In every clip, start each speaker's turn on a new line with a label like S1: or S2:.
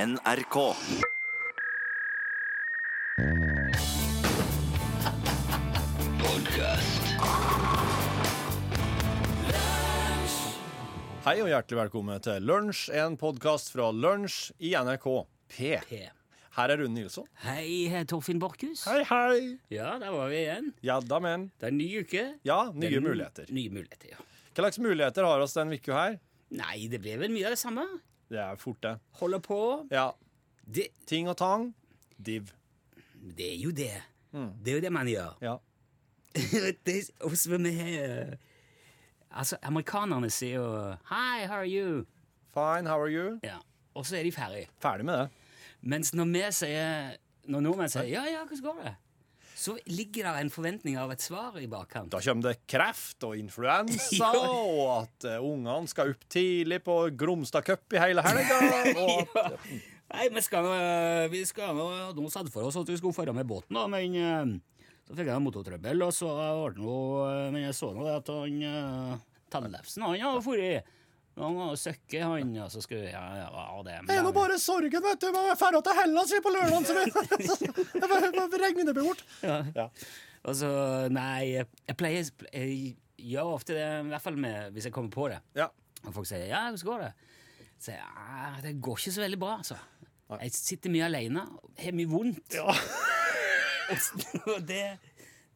S1: NRK.
S2: Hei og hjertelig velkommen til Lunsj, en podkast fra Lunsj i NRK P.
S3: P.
S2: Her er Rune Nilsson.
S3: Hei, her er Torfinn Borchhus.
S2: hei.
S3: Ja, der var vi igjen.
S2: Ja da, men.
S3: Det er en ny uke.
S2: Ja, nye
S3: Det er n-
S2: muligheter.
S3: Nye muligheter, ja.
S2: Hva slags muligheter har oss den uka her?
S3: Nei, det ble vel mye av det samme.
S2: Det er fort, det.
S3: Holder på.
S2: Ja.
S3: Det,
S2: Ting og tang. Div.
S3: det er jo det.
S2: Mm.
S3: Det er jo det man gjør.
S2: Ja.
S3: det er og så med, eh, altså, amerikanerne sier jo Hi, how are you?
S2: Fine, how are you?
S3: Ja. Og så er de ferdig.
S2: Ferdig med det.
S3: Mens når vi sier Når nordmenn sier ja, ja, hvordan går det? Så ligger det en forventning av et svar i bakkant.
S2: Da kommer det kreft og influensa,
S3: Ja.
S2: og at eh, ungene skal opp tidlig på Gromstad Cup i hele helga. Og at,
S3: Nei, vi skal, øh, vi skal nå- Nå satte for oss at vi skulle føre med båten, da, men øh, så fikk jeg motortrøbbel, og så var det noe, øh, Men jeg så nå det at han øh, Tellefsen, han har dratt. Han har søkket, han, og så skulle Ja, ja, ja det men
S2: Det er nå
S3: det-
S2: bare sorgen, vet du. Man drar til Hellas vi, på lørdag, så vi- så- det bare regner bort. Ja.
S3: Og så Nei, jeg pleier Jeg gjør ofte det, i hvert fall med, hvis jeg kommer på det.
S2: ja.
S3: Og folk sier 'ja, hvordan går det?' Så sier jeg «Ah, 'det går ikke så veldig bra', altså. Jeg sitter mye alene, har mye vondt. Og det,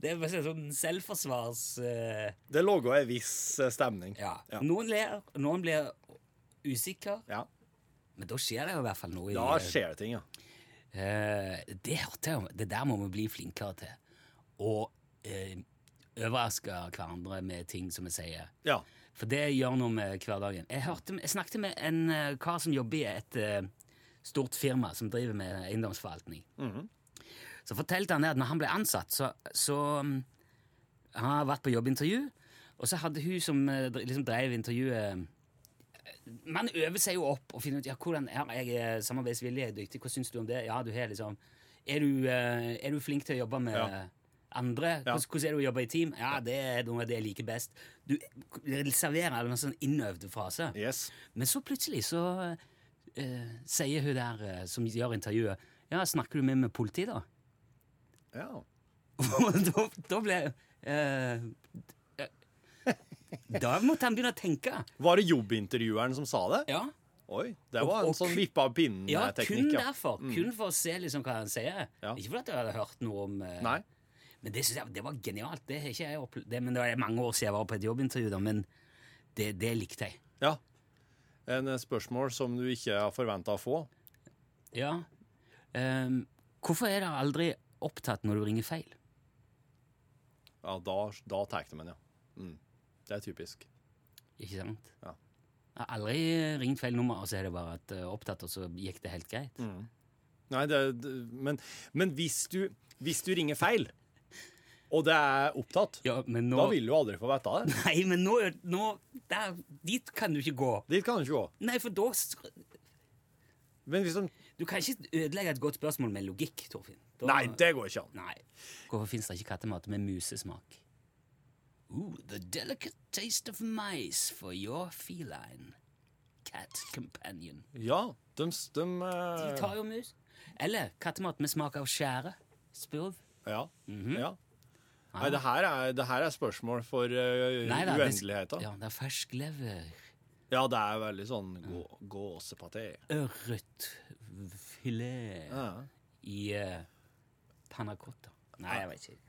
S3: det er bare sånn selvforsvars... eh,
S2: Det lå jo en viss eh, stemning.
S3: ja.
S2: Ja.
S3: Noen ler, noen blir usikker,
S2: Ja.
S3: men da skjer det jo i hvert fall noe. i-
S2: Da skjer det ting, ja.
S3: Eh, det hørte jeg om. Det der må vi bli flinkere til. Å eh, overraske hverandre med ting som vi sier.
S2: Ja.
S3: For det gjør noe med hverdagen. Jeg, hørte, jeg snakket med en eh, kar som jobber i et eh, stort firma som driver med eiendomsforvaltning. Så fortalte han det at når han ble ansatt, så, så mm, Han har vært på jobbintervju, og så hadde hun som eh, dri- liksom drev intervjuet eh, man øver seg jo opp og finner ut ja, hvordan er jeg er samarbeidsvillig, jeg er dyktig, hva syns du om det? Ja, du har liksom er du, eh, er du flink til å jobbe med
S2: Ja.
S3: andre?
S2: Ja.
S3: Hvordan, hvordan er det å jobbe i team? Ja, det er noe av det jeg liker best. Du serverer en sånn innøvd frase.
S2: Yes.
S3: Men så plutselig så eh, sier hun der eh, som gjør intervjuet, ja, snakker du med med politi da?
S2: Ja.
S3: Og da, da ble jeg eh, eh, Da måtte han begynne å tenke.
S2: Var det jobbintervjueren som sa det?
S3: Ja,
S2: Oi, det
S3: Og-
S2: var en
S3: og
S2: sånn
S3: kun-
S2: vippe av
S3: Ja, kun
S2: pinnen-teknikk. Ja, Mm.
S3: derfor. Kun for å se liksom hva han sier.
S2: Ja.
S3: Ikke fordi jeg hadde hørt noe om eh,
S2: Nei.
S3: Men det synes jeg det var genialt. Det har ikke jeg opple- det, men det er mange år siden jeg var på et jobbintervju, da, men det, det likte jeg.
S2: Ja. En eh, spørsmål som du ikke har forventa å få.
S3: Ja. Ehm, hvorfor er dere aldri opptatt når du ringer feil?
S2: Ja, da, da tar de den, ja. Mm. Det er typisk.
S3: Ikke sant?
S2: Ja.
S3: Jeg har aldri ringt feil nummer, og så er det bare at eh, opptatt, og så gikk det helt greit.
S2: Mm. Nei, det, det Men, men hvis, du, hvis du ringer feil, og det er opptatt,
S3: Ja, men nå
S2: da vil du aldri få vite det.
S3: Nei, men nå, nå der, Dit kan du ikke gå.
S2: Dit kan du ikke gå.
S3: Nei, for da s-
S2: Men hvis de
S3: Du kan ikke ødelegge et godt spørsmål med logikk, Torfinn. Da-
S2: Nei, det går ikke an.
S3: Nei. Hvorfor fins det ikke kattemat med musesmak? Ooh, the delicate taste of mice for your feline cat companion.
S2: Ja, de, de, eh,
S3: De tar jo mus. Eller kattemat med smak av skjære. Spurv.
S2: Ja.
S3: Mhm.
S2: ja. Nei, det her, er, det her er spørsmål for uh,
S3: Nei, det er-
S2: uendeligheten. Ja.
S3: Ja, det er fersk lever.
S2: det er veldig sånn gå, gåsepaté.
S3: Ørretfilet
S2: Ja.
S3: i eh, panna cotta. Nei, jeg vet ikke.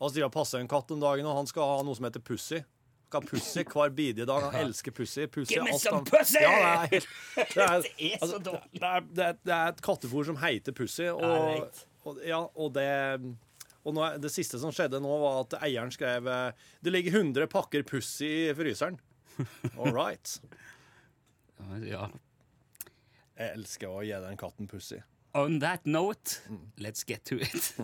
S2: Altså, de har passet en katt om dagen, og han skal ha noe som heter Pussy. Han skal ha Pussy hver bidige dag. Han elsker Pussy. Pussy
S3: Give me
S2: er alt
S3: some
S2: han-
S3: pussy!
S2: Ja, det er, helt- det er,
S3: Det er så
S2: altså, det, er, det, er, det er et kattefôr som heter Pussy,
S3: Ja,
S2: og,
S3: rett.
S2: og, ja, og det og nå, er- Det siste som skjedde nå, var at eieren skrev eh, Det ligger 100 pakker Pussy i fryseren. All right.
S3: Ja.
S2: Jeg elsker å gi den katten Pussy.
S3: On that note, let's get to it.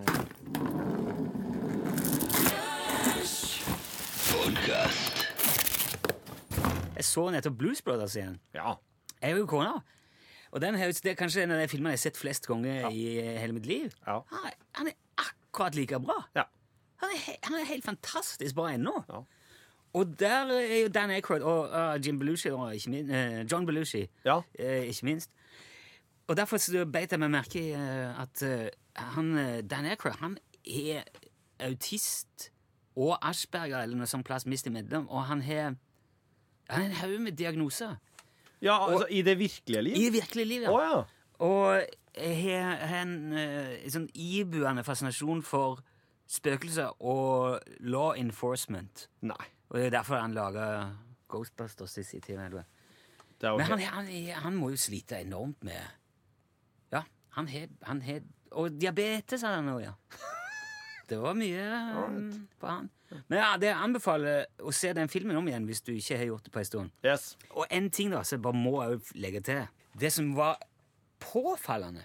S3: Jeg så nettopp Blues Brothers igjen.
S2: Ja.
S3: Jeg er jo kona. Og den er, jo- det er kanskje en av de filmene jeg har sett flest ganger i eh, hele mitt liv.
S2: Ja.
S3: Han, er- han er akkurat like bra.
S2: Ja.
S3: Han, er, he- han er helt fantastisk bra ennå.
S2: Ja.
S3: Og der er jo ah, Dan Aykroyd og uh, Jim Belushi og ikke min, eh, John Belushi,
S2: Ja.
S3: eh, ikke minst. Og derfor så beit jeg meg merke i eh, at eh, han, eh, Dan Aykroyd han er autist og Asperger eller noe sånt plass mist imellom, og han har han har en haug med diagnoser.
S2: Ja, altså, I det virkelige liv?
S3: I virkelig liv,
S2: Å
S3: ja.
S2: ja.
S3: Og jeg har har en eh, sånn ibuende fascinasjon for spøkelser og law enforcement.
S2: Nei.
S3: Og det er derfor han lager Ghostbusters i sin tid. eller?
S2: Det er
S3: Men han,
S2: jo
S3: han, han må jo slite enormt med Ja, han har han har- Og diabetes har han òg, ja. Det var mye um, på han. Men ja, det jeg anbefaler å se den filmen om igjen hvis du ikke har gjort det på en stund.
S2: Yes.
S3: Og en ting da, som jeg bare må jeg jo legge til. Det som var påfallende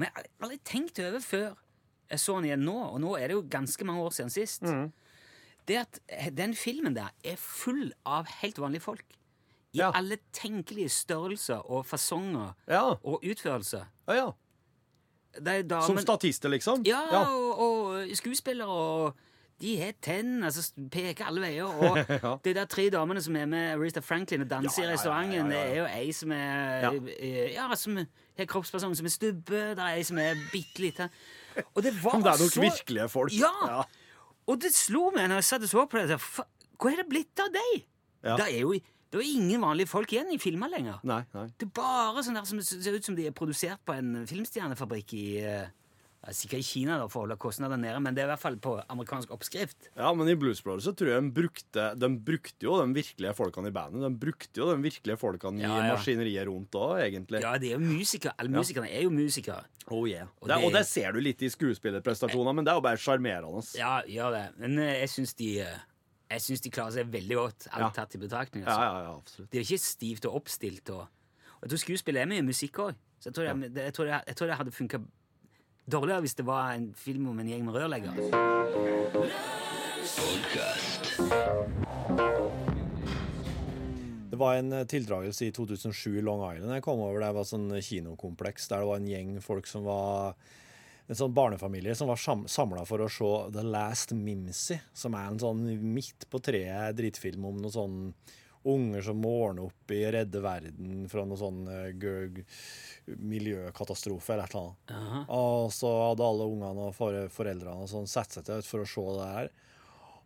S3: Men jeg har aldri tenkt over før jeg så den igjen nå, og nå er det jo ganske mange år siden sist.
S2: Mm.
S3: Det at eh, den filmen der er full av helt vanlige folk. I
S2: Ja.
S3: alle tenkelige størrelser og fasonger
S2: Ja.
S3: og utførelser.
S2: ja, ja.
S3: Det er damen,
S2: Som statister, liksom?
S3: ja, Og, og skuespillere og De har tenn, altså s- peker alle veier. Og
S2: Ja.
S3: de der tre damene som er med Arista Franklin og danser
S2: Ja, ja, ja,
S3: i restauranten,
S2: ja, ja, ja.
S3: det er jo ei som er
S2: Ja.
S3: eh, Ja, som har kroppsperson som er stubbe, det er ei som er bitte lita Og det var
S2: Om det er nok
S3: så
S2: virkelige folk.
S3: Ja! Og det slo meg når jeg satt og så på det, så, fa- hvor er det blitt av deg?
S2: Ja.
S3: Det er jo det er jo ingen vanlige folk igjen i filmer lenger.
S2: Nei, nei.
S3: Det er bare sånn der som ser ut som de er produsert på en filmstjernefabrikk i eh, ja, Sikkert i Kina da, for å holde kostnadene nede, men det er i hvert fall på amerikansk oppskrift.
S2: Ja, men i Blues Brothers så tror jeg de brukte, de brukte jo de virkelige folkene i bandet. De brukte jo de virkelige folkene
S3: Ja,
S2: i
S3: ja.
S2: maskineriet rundt òg, egentlig.
S3: Ja, de er jo musikere. Alle musikerne er jo musikere.
S2: Oh, yeah.
S3: Og
S2: det,
S3: det-
S2: og det ser du litt i skuespillerprestasjoner, men det er jo bare sjarmerende.
S3: Ja, gjør det. Men eh, jeg syns de eh, Jeg synes de klarer seg veldig godt, alt
S2: Ja.
S3: tatt i betraktning.
S2: Ja,
S3: Altså.
S2: ja, ja, absolutt.
S3: De er ikke stivt og oppstilt. Og, og jeg tror skuespillet er mye musikk òg, så jeg tror, jeg, jeg, tror jeg, jeg tror det hadde funka dårligere hvis det var en film om en gjeng med rørleggere.
S2: Det var en eh, tildragelse i 2007 i Long Island. Jeg kom over Det var sånn kinokompleks der det var en gjeng folk som var en sånn barnefamilie som var samla for å se The Last Mimsy, som er en sånn midt på treet drittfilm om noen sånn unger som må ordne opp i redde verden fra noen sånn eh, gø- miljøkatastrofe eller et eller annet. Og så hadde alle ungene og fore- foreldrene og sånn sett seg til for å se det her.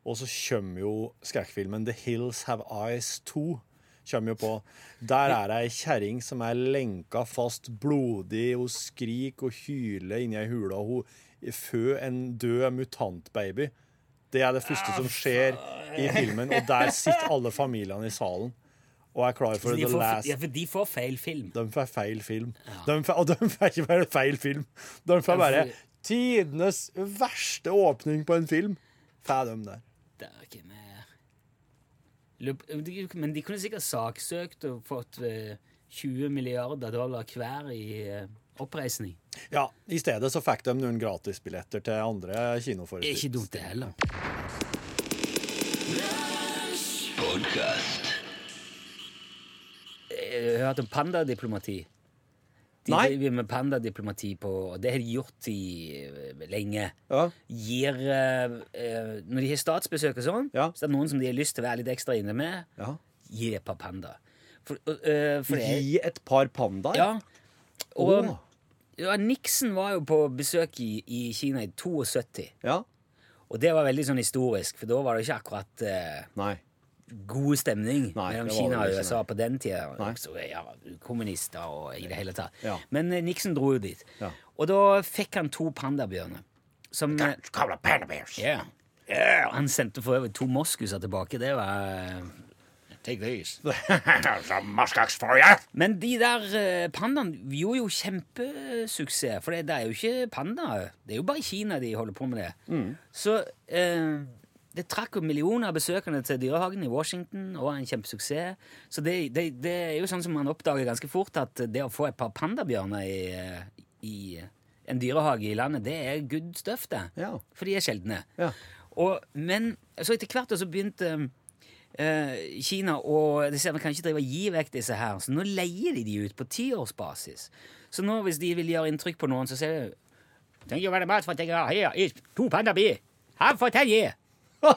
S2: Og så kommer jo skrekkfilmen The Hills Have Eyes 2. Kommer jo på. Der er det ei kjerring som er lenka fast, blodig. Hun skriker og hyler inni ei hule, og hun føder en død mutantbaby. Det er det første som skjer i filmen, og der sitter alle familiene i salen og er klar for
S3: De
S2: The
S3: får,
S2: Last
S3: ja, for de får feil film.
S2: de får feil film. De får, og de får ikke bare feil film. De får bare tidenes verste åpning på en film. Får de der.
S3: Det er ikke mer Lup- de- Men de kunne sikkert saksøkt og fått eh, 20 milliarder dollar hver i eh, oppreisning.
S2: Ja, I stedet så fikk de noen gratisbilletter til andre
S3: Det er ikke
S2: kinoforestillinger.
S3: dumt, det heller. Eh, Jeg har hørt om pandadiplomati. De
S2: Nei.
S3: driver med pandadiplomati på og Det har de gjort i eh, lenge.
S2: Ja.
S3: Gir eh, eh, Når de har statsbesøk og sånn,
S2: Ja.
S3: så er det noen som de har lyst til å være litt ekstra inne med.
S2: Ja.
S3: Gi et par panda. For, eh, for det er-
S2: Gi et par pandaer?
S3: ja, og
S2: Åh.
S3: ja, Nixon var jo på besøk i, i Kina i 72.
S2: ja.
S3: Og det var veldig sånn historisk, for da var det ikke akkurat eh,
S2: Nei.
S3: god stemning
S2: Nei,
S3: mellom
S2: det var
S3: Kina
S2: det
S3: og
S2: ikke,
S3: USA på den tida.
S2: Nei.
S3: Også, ja, kommunister og i det hele tatt.
S2: Ja.
S3: Men eh, Nixon dro jo dit.
S2: Ja.
S3: Og da fikk han to pandabjørner. Som eh, Ja. Han sendte for øvrig to moskuser tilbake. Det var eh, Take these. Men de der eh, pandaene gjorde jo kjempesuksess, for det, det er jo ikke pandaer. Det er jo bare i Kina de holder på med det. Så eh, det trakk jo millioner av besøkende til dyrehagen i Washington, og en kjempesuksess. Så det, det, det er jo sånn som man oppdager ganske fort, at det å få et par pandabjørner i, eh, i en dyrehage i landet, det er good stuff, det.
S2: Ja.
S3: For de er sjeldne.
S2: Ja.
S3: Og, men så etter hvert da så begynte eh, Kina og de sier vi kan ikke drive og gi vekk disse her, så nå leier de de ut på tiårsbasis. Så nå hvis de vil gjøre inntrykk på noen, så sier de Thank you very much for taking our here is two panda beer. Have for ten year. Så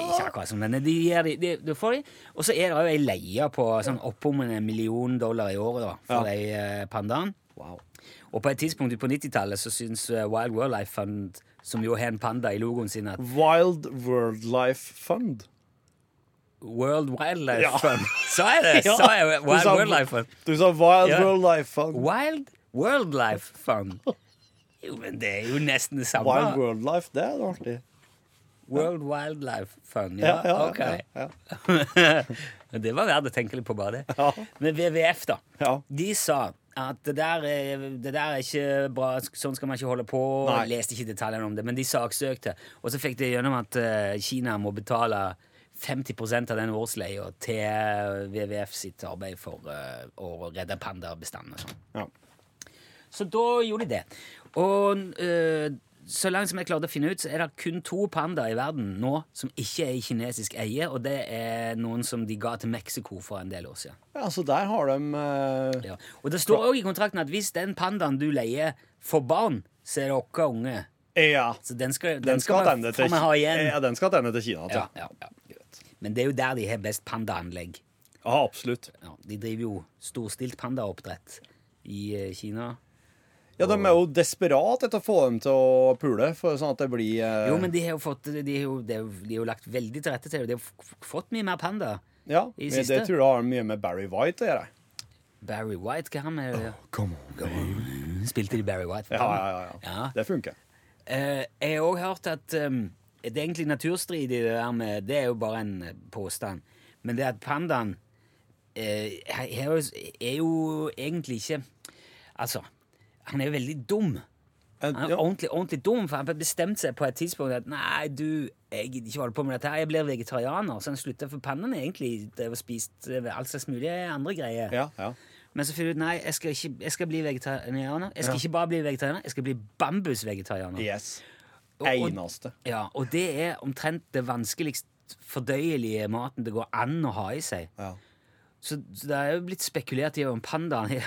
S3: ikke akkurat som denne. De gir de, de, du får de. Og så er det jo ei leie på sånn oppom en million dollar i året da, for de eh, pandaen. Og på et tidspunkt på 90-tallet så syns eh, Wild Wildlife Fund, som jo har en panda i logoen sin, at
S2: Wild Worldlife Fund.
S3: World Wildlife
S2: Ja.
S3: Fund Sa jeg det? Sa jeg
S2: Du
S3: Wild
S2: sa-
S3: Wildlife Fund?
S2: Du sa Wild
S3: Ja.
S2: Worldlife Fund.
S3: Wild Wildlife Fund. Jo, men det er jo nesten det samme.
S2: Wild Worldlife, det er artig.
S3: World Wildlife Fund, ja?
S2: Ja, ja,
S3: ok.
S2: ja, ja.
S3: det var verdt å tenke litt på bare det.
S2: Ja.
S3: Men WWF, da.
S2: Ja.
S3: De sa at det der, er, det der er ikke bra, sånn skal man ikke holde på.
S2: Nei.
S3: Jeg leste ikke detaljene om det, men de saksøkte. Og så fikk de gjennom at eh, Kina må betale 50 av den årsleia til WWF sitt arbeid for eh, å redde pandabestanden og sånn.
S2: Ja.
S3: Så da gjorde de det. Og eh, så langt som jeg klarte å finne ut, så er det kun to pandaer i verden nå som ikke er i kinesisk eie, og det er noen som de ga til Mexico for en del år siden.
S2: ja, så der har de eh,
S3: Ja. Og det står òg i kontrakten at hvis den pandaen du leier, får barn, så er det våre unge.
S2: Ja.
S3: Så den skal, den
S2: eh, Den skal
S3: skal vi
S2: attende til,
S3: faen meg ha igjen.
S2: ja, den skal attende til Kina.
S3: Ja,
S2: Ja.
S3: ja, ja. Men det er jo der de har best pandaanlegg.
S2: ja, absolutt.
S3: Ja, de driver jo storstilt pandaoppdrett i eh, Kina.
S2: Ja, De er jo desperat etter å få dem til å pule, for sånn at det blir eh,
S3: Jo, men de har jo fått De har jo, de har jo, de har jo lagt veldig til rette til det. De har f- fått mye mer panda.
S2: Ja,
S3: i
S2: men
S3: siste.
S2: Det tror jeg har mye med Barry White å gjøre.
S3: Barry White, hva har han med
S2: Come on,
S3: Spilte de Barry White? for
S2: Ja,
S3: panda?
S2: ja, ja, ja.
S3: Ja.
S2: Det funker.
S3: Eh, jeg har òg hørt at ehm, det er egentlig naturstridig, det der med Det er jo bare en eh, påstand. Men det at pandaen eh, he- he- er jo egentlig ikke Altså, han er jo veldig dum.
S2: En,
S3: Han er
S2: Eh, ja.
S3: ordentlig, ordentlig dum, for han bestemte seg på et tidspunkt at nei, du, jeg gidder ikke holde på med dette her, jeg blir vegetarianer. Så han slutta, for pandaen har egentlig drevet og spist eh, all slags mulige andre greier.
S2: ja, ja.
S3: Men så finner du ut nei, jeg skal, ikke, jeg skal bli vegetarianer. Jeg skal
S2: Ja.
S3: ikke bare bli vegetarianer, jeg skal bli bambusvegetarianer.
S2: Yes.
S3: Og- og-
S2: Eneste.
S3: Ja, og det er omtrent det vanskeligst fordøyelige maten det går an å ha i seg.
S2: Ja.
S3: Så, så det er jo blitt spekulert i om pandaen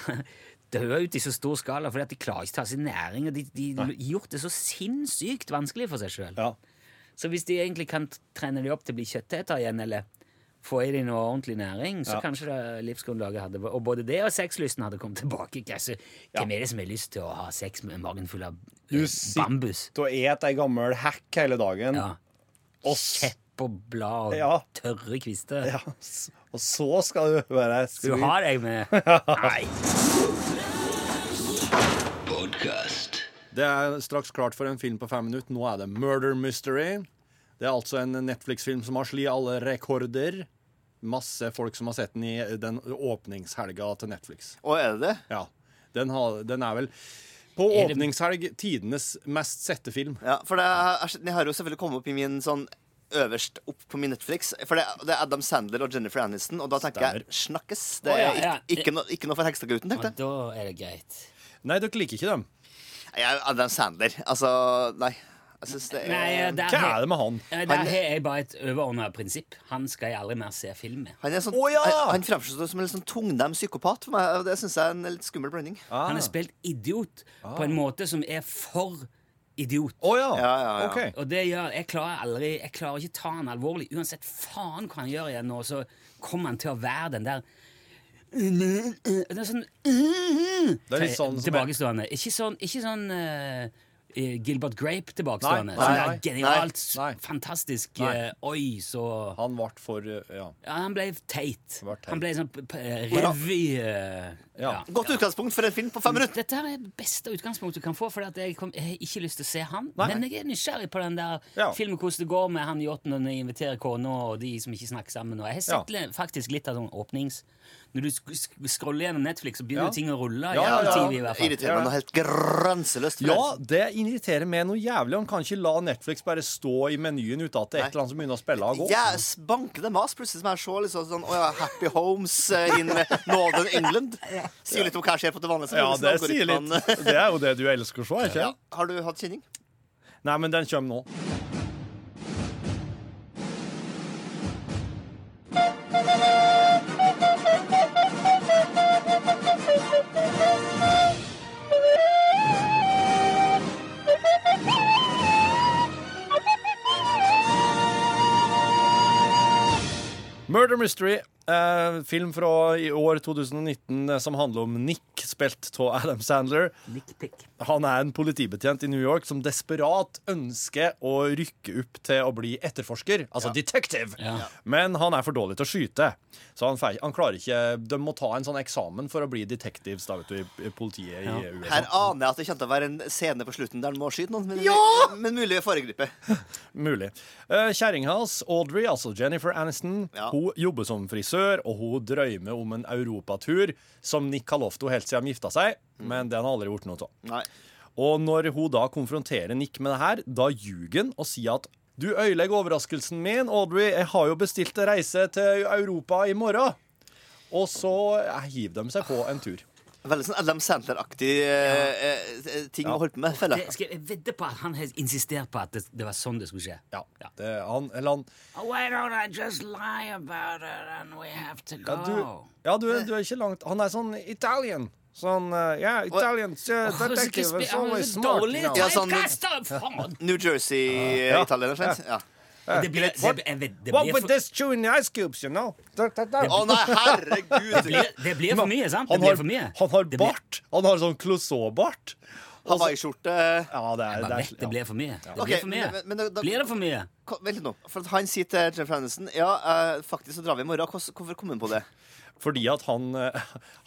S3: dør ut i så stor skala fordi at de klarer ikke ta sin næring, og de de har gjort det så sinnssykt vanskelig for seg sjøl.
S2: ja.
S3: Så hvis de egentlig kan t- trene de opp til å bli kjøtteter igjen, eller få i de noe ordentlig næring,
S2: Ja.
S3: så kanskje det livsgrunnlaget hadde Og både det og sexlysten hadde kommet tilbake. Altså, Hvem er det som har lyst til å ha sex med en magen full av eh,
S2: sitter-
S3: bambus?
S2: Du et ei gammel hekk hele dagen,
S3: Ja.
S2: og, s-
S3: Kjepp og blad og
S2: Ja.
S3: tørre kvister.
S2: ja, s- og så skal du være
S3: Du
S2: skru-
S3: har deg med Nei.
S2: Det er straks klart for en film på fem minutter. Nå er det Murder Mystery. Det er altså en Netflix-film som har slitt alle rekorder. Masse folk som har sett den i den åpningshelga til Netflix.
S1: Og er det det?
S2: Ja, Den, har, den er vel på
S3: Er det-
S2: åpningshelg tidenes mest sette film.
S1: Ja, for det, er- den har jo selvfølgelig kommet opp i min sånn øverst opp på min Netflix. For det, det er Adam Sandler og Jennifer Aniston, og da tenker jeg snakkes. Det
S3: Å, ja,
S1: er
S3: ja.
S1: ikke, ikke, noe- ikke noe for Hekstadgutten, tenkte
S3: Og
S1: jeg.
S3: da er det greit.
S2: Nei, dere liker ikke dem.
S1: Jeg er Adam Sandler. Altså, nei. Jeg synes det er
S3: Nei,
S2: Eh,
S3: der,
S2: Hva er
S3: har-
S2: det med han?
S3: Nei, der har jeg bare et overordna prinsipp. Han skal jeg aldri mer se film med.
S1: Han, er sånn,
S2: Å, ja!
S1: han, han fremstår som en litt sånn tungnem psykopat for meg. og Det syns jeg er en litt skummel blanding.
S2: Ah.
S3: Han har spilt idiot på en måte som er for idiot.
S2: Å ja.
S1: ja, ja.
S2: Ok.
S3: Og det gjør Jeg klarer aldri Jeg klarer ikke ta han alvorlig. Uansett faen hva han gjør igjen nå, så kommer han til å være den der Det er sånn eh,
S2: Det er litt sånn som jeg-
S3: Tilbakestående. Ikke sånn, ikke sånn eh, eh, Gilbert Grape tilbakestående.
S2: Nei,
S3: Sånn
S1: nei,
S3: der genialt,
S2: nei, nei.
S3: fantastisk
S2: Nei.
S3: eh, Oi, så
S2: Han ble for eh, Ja.
S3: ja, Han ble teit.
S2: Var teit.
S3: Han ble sånn p- p- revy... eh,
S2: Ja.
S1: Godt utgangspunkt for en film på fem minutter.
S3: Dette her er det beste utgangspunktet du kan få, for at jeg, kom, jeg har ikke lyst til å se han.
S2: Nei.
S3: Men jeg er nysgjerrig på den der
S2: Ja.
S3: filmen hvordan det går med han yachten når han inviterer kona og de som ikke snakker sammen. Og jeg har sett li- faktisk litt av sånn åpnings... Når du sk sk scroller gjennom Netflix, så begynner
S2: Ja.
S3: jo ting å
S2: Ja,
S3: rulle.
S2: ja,
S3: i
S2: ja.
S3: TV i hvert fall.
S1: Irriterer meg noe helt grenseløst.
S2: ja, det irriterer meg noe jævlig. Han kan ikke la Netflix bare stå i menyen uten at det er et eller annet som begynner å spille og gå.
S1: Yes, bankende mas. Plutselig som jeg så liksom sånn Å ja, Happy Homes eh, in Northern England. Sier litt om hva som skjer på det vanlige. så
S2: Ja,
S1: liksom
S2: det sier
S1: algoritmen-
S2: litt. Det er jo det du elsker å se, ikke
S1: Ja. Har du hatt kjenning?
S2: Nei, men den kommer nå. Murder Mystery. eh, film fra i år 2019 eh, som handler om Nick, spilt av Adam Sandler.
S3: Nick Pick.
S2: Han er en politibetjent i New York som desperat ønsker å rykke opp til å bli etterforsker, altså detective.
S3: Ja.
S2: Men han er for dårlig til å skyte, så han, fe- han klarer ikke De må ta en sånn eksamen for å bli detectives da, vet du, i i politiet i USA.
S1: Her aner jeg at det kommer til å være en scene på slutten der han må skyte noen. Men, men mulig å foregripe.
S2: Mulig. Eh, Kjerringa hans, Audrey, altså Jennifer Aniston,
S1: Ja.
S2: hun jobber som frisør, og hun drømmer om en europatur som Nick har lovt henne helt siden de gifta seg,
S1: Mm.
S2: men det har han aldri gjort noe av.
S1: Nei.
S2: Og når hun da konfronterer Nick med det her, da ljuger han og sier at du ødelegger overraskelsen min, Audrey. Jeg har jo bestilt en reise til Europa i morgen. Og så eh, hiver de seg på en tur.
S1: Veldig sånn Adam Sandler-aktig eh, eh, ting å holde på med, føler
S3: Det,
S1: jeg.
S3: skal jeg vedde på at han har insistert på at det, det var sånn det skulle skje.
S2: Ja, det, han, eller han
S3: Why don't I just lie about it and we have to
S2: Ja,
S3: go?
S2: du, ja, du, du er ikke langt Han er sånn Italian. Sånn eh, Ja, Italian uh,
S3: Åh, så skal jeg
S2: detective.
S3: spi-
S2: is always
S3: så
S2: smart,
S3: dårlig
S2: you know.
S1: Ja, sånn-
S3: typecast, da, faen!
S1: New eh,
S2: Ja.
S1: Jersey-italiener, slett. Ja.
S3: Det blir, det,
S2: What-
S3: blir- jeg vet- det
S2: What
S3: blir
S2: with
S3: for-
S2: this chewing ice cubes, you know? Da, da, da.
S1: Å nei, herregud!
S3: blir- det blir for mye, sant? Det
S2: Han
S3: blir
S2: har,
S3: for mye.
S2: han har
S3: Det blir-
S2: bart. Han har sånn Clouseau-bart.
S1: Hawaiiskjorte
S2: Ja, det er,
S3: Man
S2: det er,
S3: vet det blir for mye. Det
S1: Ok,
S3: blir for mye.
S1: men- men da- da-
S3: Blir det for mye?
S1: Ko- Vent litt nå. For at han sier til Jennifer Aniston Ja, eh, faktisk så drar vi i morgen. Hvordan- Hvorfor kom han på det?
S2: Fordi at han, eh,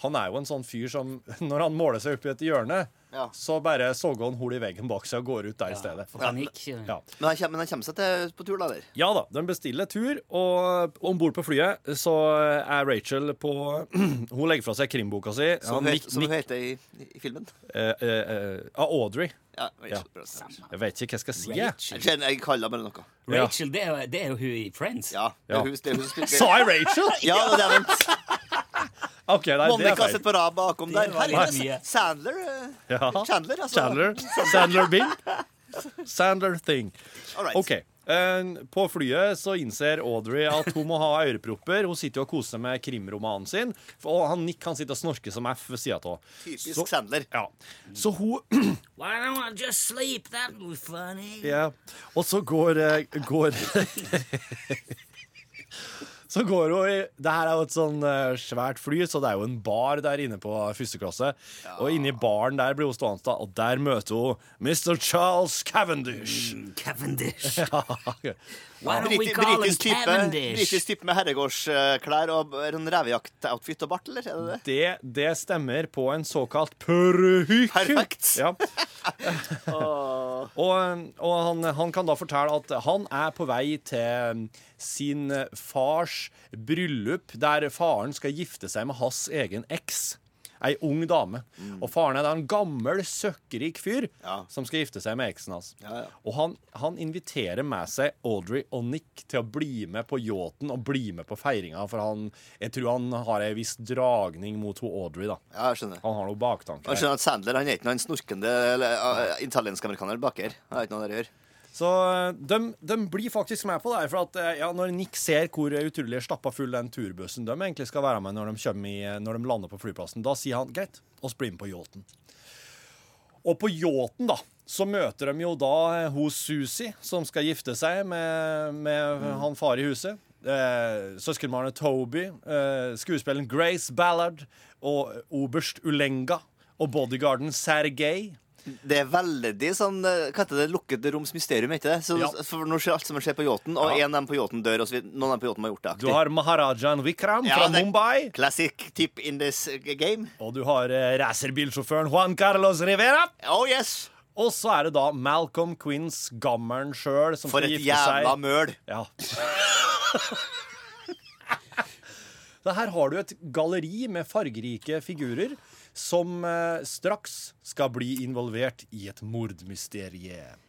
S2: han er jo en sånn fyr som når han måler seg opp i et hjørne,
S1: Ja.
S2: så bare såger han hull i veggen bak seg og går ut der i stedet.
S3: For panikk.
S2: Ja.
S1: Men han, kjem- men han kommer seg til på tur, da? Der.
S2: ja da, de bestiller tur, og om bord på flyet så er Rachel på Hun legger fra seg krimboka si.
S1: Som,
S2: Han,
S1: hun,
S2: Nick,
S1: het- som hun
S2: Nick,
S1: heter i, i filmen.
S2: eh, eh, eh, ah, Audrey.
S1: Ja, Rachel
S2: Ja.
S1: Brosnan.
S2: Jeg vet ikke hva jeg skal si. jeg.
S1: Jeg,
S3: Rachel,
S1: kjenner- jeg kaller henne bare noe.
S2: Ja.
S3: Rachel det, er, jo- det er jo hun i Friends.
S1: Ja, det
S2: Ja.
S1: er hun, det er hun som spiller
S2: Sa jeg Rachel?!
S1: Ja, og det er den
S2: OK, nei, det er
S1: Monica sitter
S2: feil.
S1: på rad bakom der.
S3: Det var litt
S1: Herregud,
S3: mye.
S1: Sandler eh,
S2: Ja.
S1: Chandler, altså.
S2: Chandler. Sandler Bing. Sandler Thing.
S1: All right.
S2: OK. eh, På flyet så innser Audrey at hun må ha ørepropper. Hun sitter jo og koser med krimromanen sin. For- Og han Nick han sitter og snorker som F ved sida av
S1: Typisk
S2: Så-
S1: Sandler.
S2: Ja. Så hun
S3: Why don't I just sleep? That would be funny.
S2: ja. Og så går, eh, går Så går hun i Det her er jo et sånn eh, svært fly, så det er jo en bar der inne på første klasse. Og inni baren der blir hun stående, da, og der møter hun Mr. Charles Cavendish.
S3: Cavendish.
S2: Ja.
S3: Why don't we
S1: Briti-
S3: call him
S1: Britisk type,
S3: Cavendish?
S1: britisk type med herregårdsklær og b- en revejaktoutfit og bart, eller? Er det det?
S2: Det, det stemmer på en såkalt purhuk.
S1: Perfekt.
S2: Ja. og og han, han kan da fortelle at han er på vei til sin fars bryllup, der faren skal gifte seg med hans egen eks. Ei ung dame. Og faren er da en gammel, søkkrik fyr
S1: Mm. Ja.
S2: som skal gifte seg med eksen hans.
S1: Ja, ja.
S2: Og han, han inviterer med seg Audrey og Nick til å bli med på yachten og bli med på feiringa, for han, jeg tror han har ei viss dragning mot ho Audrey, da.
S1: Ja, jeg skjønner.
S2: Han har noen
S1: Jeg
S2: baktanker. her.
S1: skjønner at Sandler han er ikke noen snorkende eller, eh, italiensk-amerikaner eller baker. Han har ikke noe der å gjøre.
S2: Så eh, de, de blir faktisk med på det her, for at eh, ja, når Nick ser hvor utrolig stappa full den turbussen de egentlig skal være med når de, kommer i, eh, når de lander på flyplassen, da sier han greit, oss blir med på yachten. Og på yachten, da, så møter de jo da eh, hun Susi, som skal gifte seg med, med han far i huset. Eh, Søskenbarnet Toby, eh, skuespilleren Grace Ballard og oberst Ulenga og bodyguarden Sergej.
S1: Det er veldig sånn eh, Hva heter det? Lukkede roms mysterium, ikke det? Så,
S2: Ja.
S1: For nå skjer alt som skjer på yachten, og
S2: Ja.
S1: en av dem på yachten dør, og så vid- noen av dem på yachten har gjort det
S2: Du
S1: aktivt.
S2: har Maharajan Vikram
S1: Ja,
S2: fra
S1: det-
S2: Mumbai.
S1: Classic tip in this eh, game.
S2: Og du har eh, racerbilsjåføren Juan Carlos Rivera.
S1: Oh yes!
S2: Og så er det da Malcolm Quinns gammelen sjøl som
S1: For
S2: skal
S1: et
S2: gifte
S1: jævla
S2: seg.
S1: møl.
S2: Ja. Så her har du et galleri med fargerike figurer som eh, straks skal bli involvert i et mordmysterium.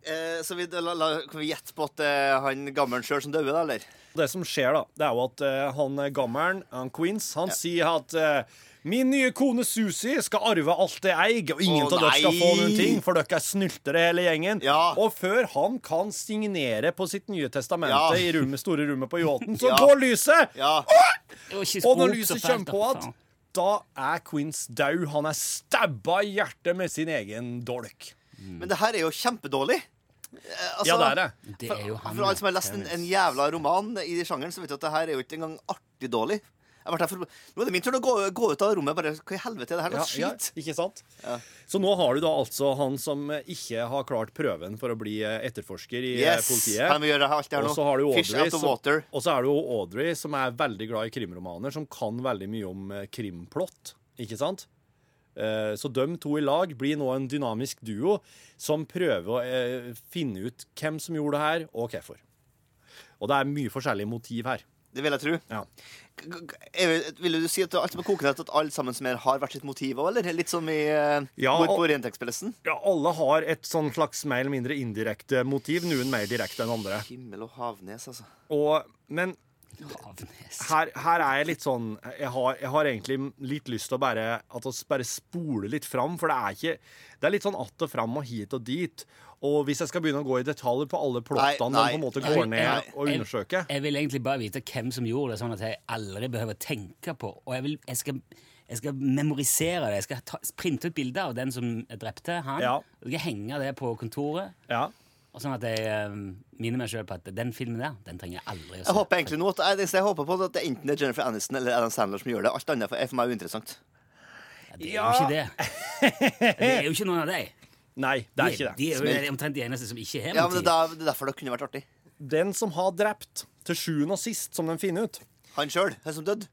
S1: Eh, så vi, la, la, kan vi gjette på at eh, han gammelen sjøl som døde, da, eller?
S2: Det som skjer, da, det er jo at eh, han eh, gammelen, han Queens, han sier at eh, Min nye kone Susi skal arve alt det jeg eier, og ingen
S1: Å,
S2: av dere skal få
S1: nei!
S2: noen ting, for dere er snyltere, hele gjengen.
S1: Ja.
S2: Og før han kan signere på sitt nye testamente
S1: Ja.
S2: i rommet, store rommet på yachten, så
S1: Ja.
S2: går lyset!
S1: Ja.
S3: Og ikke
S2: Og
S3: spor,
S2: når
S3: så
S2: lyset
S3: fælt,
S2: kommer på
S3: da,
S2: at
S3: faen.
S2: da er Queens dau. Han er stabba i hjertet med sin egen dolk.
S1: Mm. Men det her er jo kjempedårlig. Altså,
S2: Ja, det er det.
S3: Det er
S1: For,
S3: jo han.
S1: for alle som har lest en, en jævla roman i sjangeren, så vet du at det her er jo ikke engang artig dårlig. Jeg ble her for, nå er det min tur til å gå, gå ut av rommet. Bare, Hva i helvete er det her?
S2: Ja,
S1: slags
S2: ja,
S1: skit.
S2: ikke sant? Så nå har du da altså han som eh, ikke har klart prøven for å bli eh, etterforsker i eh,
S1: Yes!
S2: politiet.
S1: Her må vi gjøre alt det her
S2: Og
S1: nå.
S2: så har du
S1: Fish
S2: Audrey,
S1: out of water.
S2: som, og så er det jo Audrey, som er veldig glad i krimromaner, som kan veldig mye om eh, krimplott, ikke sant? Eh, Så de to i lag blir nå en dynamisk duo som prøver å eh, finne ut hvem som gjorde det her, og hvorfor. Og det er mye forskjellige motiv her.
S1: Det vil jeg tro.
S2: Ja.
S1: G- g- er- Ville du si at det er alt som er kokende, at alle sammen som er her, har hvert sitt motiv òg, eller? Litt som i eh,
S2: Ja,
S1: Mord
S2: og-
S1: på Orientekspillessen?
S2: Ja, alle har et sånn slags mer eller mindre indirekte motiv, noen mer direkte enn andre.
S1: Himmel og havnes, altså.
S2: Og, men
S3: Havnes.
S2: her, her er jeg litt sånn jeg har, jeg har egentlig litt lyst til å bare, at oss bare spole litt fram, for det er ikke Det er litt sånn att og fram og hit og dit. Og hvis jeg skal begynne å gå i detaljer på alle plottene de
S1: nei,
S2: på en måte
S1: nei,
S2: går
S3: Jeg-
S2: ned og
S3: jeg-
S2: undersøker
S3: Jeg vil egentlig bare vite hvem som gjorde det, sånn at jeg aldri behøver tenke på Og jeg, vil, jeg, skal, jeg skal memorisere det. Jeg skal ta, printe ut bilder av den som drepte han.
S2: Ja.
S3: Og jeg skal henge det på kontoret,
S2: Ja.
S3: og sånn at jeg eh, minner meg sjøl på at den filmen der, den trenger jeg aldri å
S1: Jeg
S3: se.
S1: håper egentlig nå at jeg, det eneste jeg håper på, er at det enten er Jennifer Aniston eller Adam Sandler som gjør det. Alt annet er for meg uinteressant.
S3: Ja, det er jo ikke det. Det er jo ikke noen av dem.
S2: Nei, det er ikke det.
S3: De er jo omtrent de eneste som ikke har
S1: Ja, men det, er
S3: motiv.
S1: da, det er derfor det kunne vært artig.
S2: Den som har drept, til sjuende og sist, som de finner ut
S1: Han sjøl, han som døde.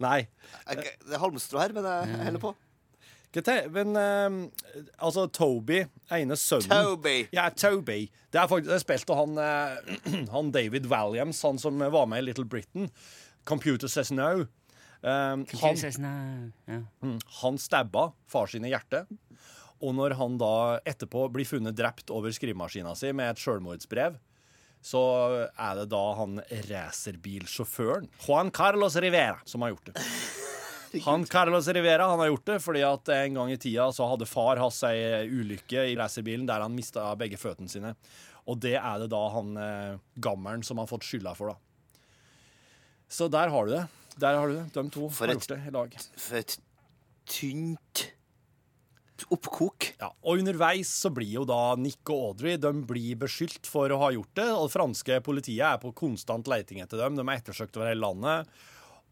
S2: Nei.
S1: Jeg- Det er halmstrå her, men jeg holder på.
S2: Hva te- Men eh, altså, Toby, ene sønnen
S1: Toby.
S2: Ja, Toby. Det er faktisk det er spilt av han, eh, han David Walliams, han som var med i Little Britain. Computer Says No. Um, han,
S3: Jesus, nei, sånn, ja.
S2: han stabba far sin i hjertet. Og når han da etterpå blir funnet drept over skrivemaskina si med et selvmordsbrev, så er det da han racerbilsjåføren Juan Carlos Rivera som har gjort det. Han Carlos Rivera han har gjort det fordi at en gang i tida så hadde far hatt ei ulykke i racerbilen der han mista begge føttene sine. Og det er det da han eh, gammelen som har fått skylda for, da. Så der har du det. Der har du det. De to
S1: For
S2: har
S1: et-
S2: gjort det i lag.
S1: For et tynt oppkok.
S2: Ja, og underveis så blir jo da Nick og Audrey de blir beskyldt for å ha gjort det. Og det franske politiet er på konstant leiting etter dem. De er ettersøkt over hele landet.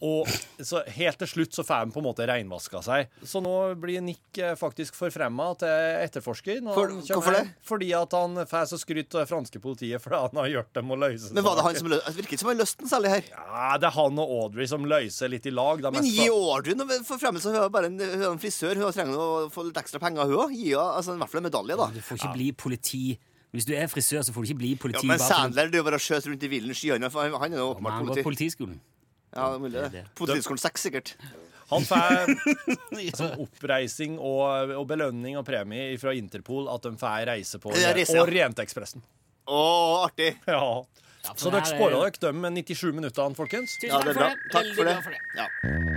S2: Og så helt til slutt så får de på en måte reinvaska seg. Så nå blir Nick eh, faktisk forfremma til etterforsker. når
S1: For-
S2: han kommer
S1: hvorfor det?
S2: hjem. Fordi at han får så skryt av det franske politiet for han har gjort dem å løse
S1: Men var det han
S2: saken.
S1: som lø- Det virker ikke som han løste den særlig her.
S2: Ja, det er han og Audrey som løser litt i lag. da
S1: Men
S2: mest
S1: gi
S2: da.
S1: Audrey noe forfremmelse. Hun er bare en, hun er en frisør. Hun trenger å få litt ekstra penger, hun òg. Gi henne altså, i hvert fall en medalje, da.
S3: Du får ikke bli politi. Hvis du er frisør, så får du ikke bli
S1: Ja,
S3: politi.
S1: men
S3: bare fordi-
S1: Sandler det er jo bare å skjøte rundt i villen skyene. for Han han er jo
S3: Men
S1: åpenbart
S3: han går på
S1: politi.
S3: politiskolen.
S1: Ja, det er mulig det.
S3: Det-
S1: Politiskolen 6, sikkert.
S2: Han får
S3: Ja.
S2: oppreising og, og belønning og premie fra Interpol at de får reise på
S1: Ja, reise, ja.
S2: Orientekspressen.
S1: Å, artig!
S2: Ja.
S3: for
S2: Så
S3: det
S2: dere
S3: her er-
S2: spora dere de 97 minuttene, folkens.
S1: Ja, det er bra. Takk for det. Ja.